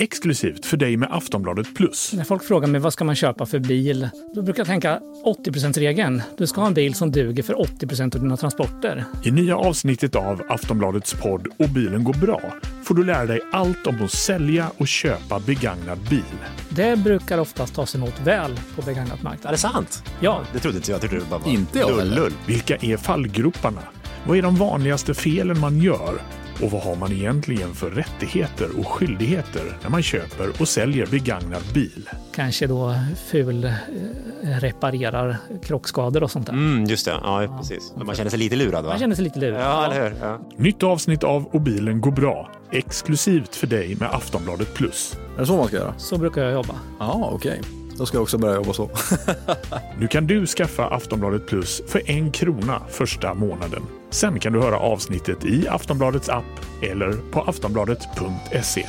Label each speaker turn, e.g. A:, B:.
A: Exklusivt för dig med Aftonbladet Plus.
B: När folk frågar mig vad ska man köpa för bil, då brukar jag tänka 80%-regeln. Du ska ha en bil som duger för 80% av dina transporter.
A: I nya avsnittet av Aftonbladets podd Och bilen går bra får du lära dig allt om att sälja och köpa begagnad bil.
B: Det brukar oftast tas emot väl på begagnat
C: Är
B: marknad.
C: det sant?
B: Ja,
C: Det trodde inte jag. Jag trodde det bara var
D: Inte jag heller.
C: lullull.
A: Vilka är fallgroparna? Vad är de vanligaste felen man gör? Och vad har man egentligen för rättigheter och skyldigheter när man köper och säljer begagnad bil?
B: kanske då ful eh, reparerar krockskador och sånt där.
C: Mm, just det. Ja, precis. Men man känner sig lite lurad, va?
B: Man känner sig lite lurad.
C: Ja, eller hur? Ja.
A: Nytt avsnitt av Och bilen går bra. Exklusivt för dig med Aftonbladet Plus.
D: Är det så man ska göra?
B: Så brukar jag jobba.
D: Ja, okej. Då ska jag också börja jobba så.
A: Nu kan du skaffa Aftonbladet Plus för en krona första månaden. Sen kan du höra avsnittet i Aftonbladets app eller på aftonbladet.se.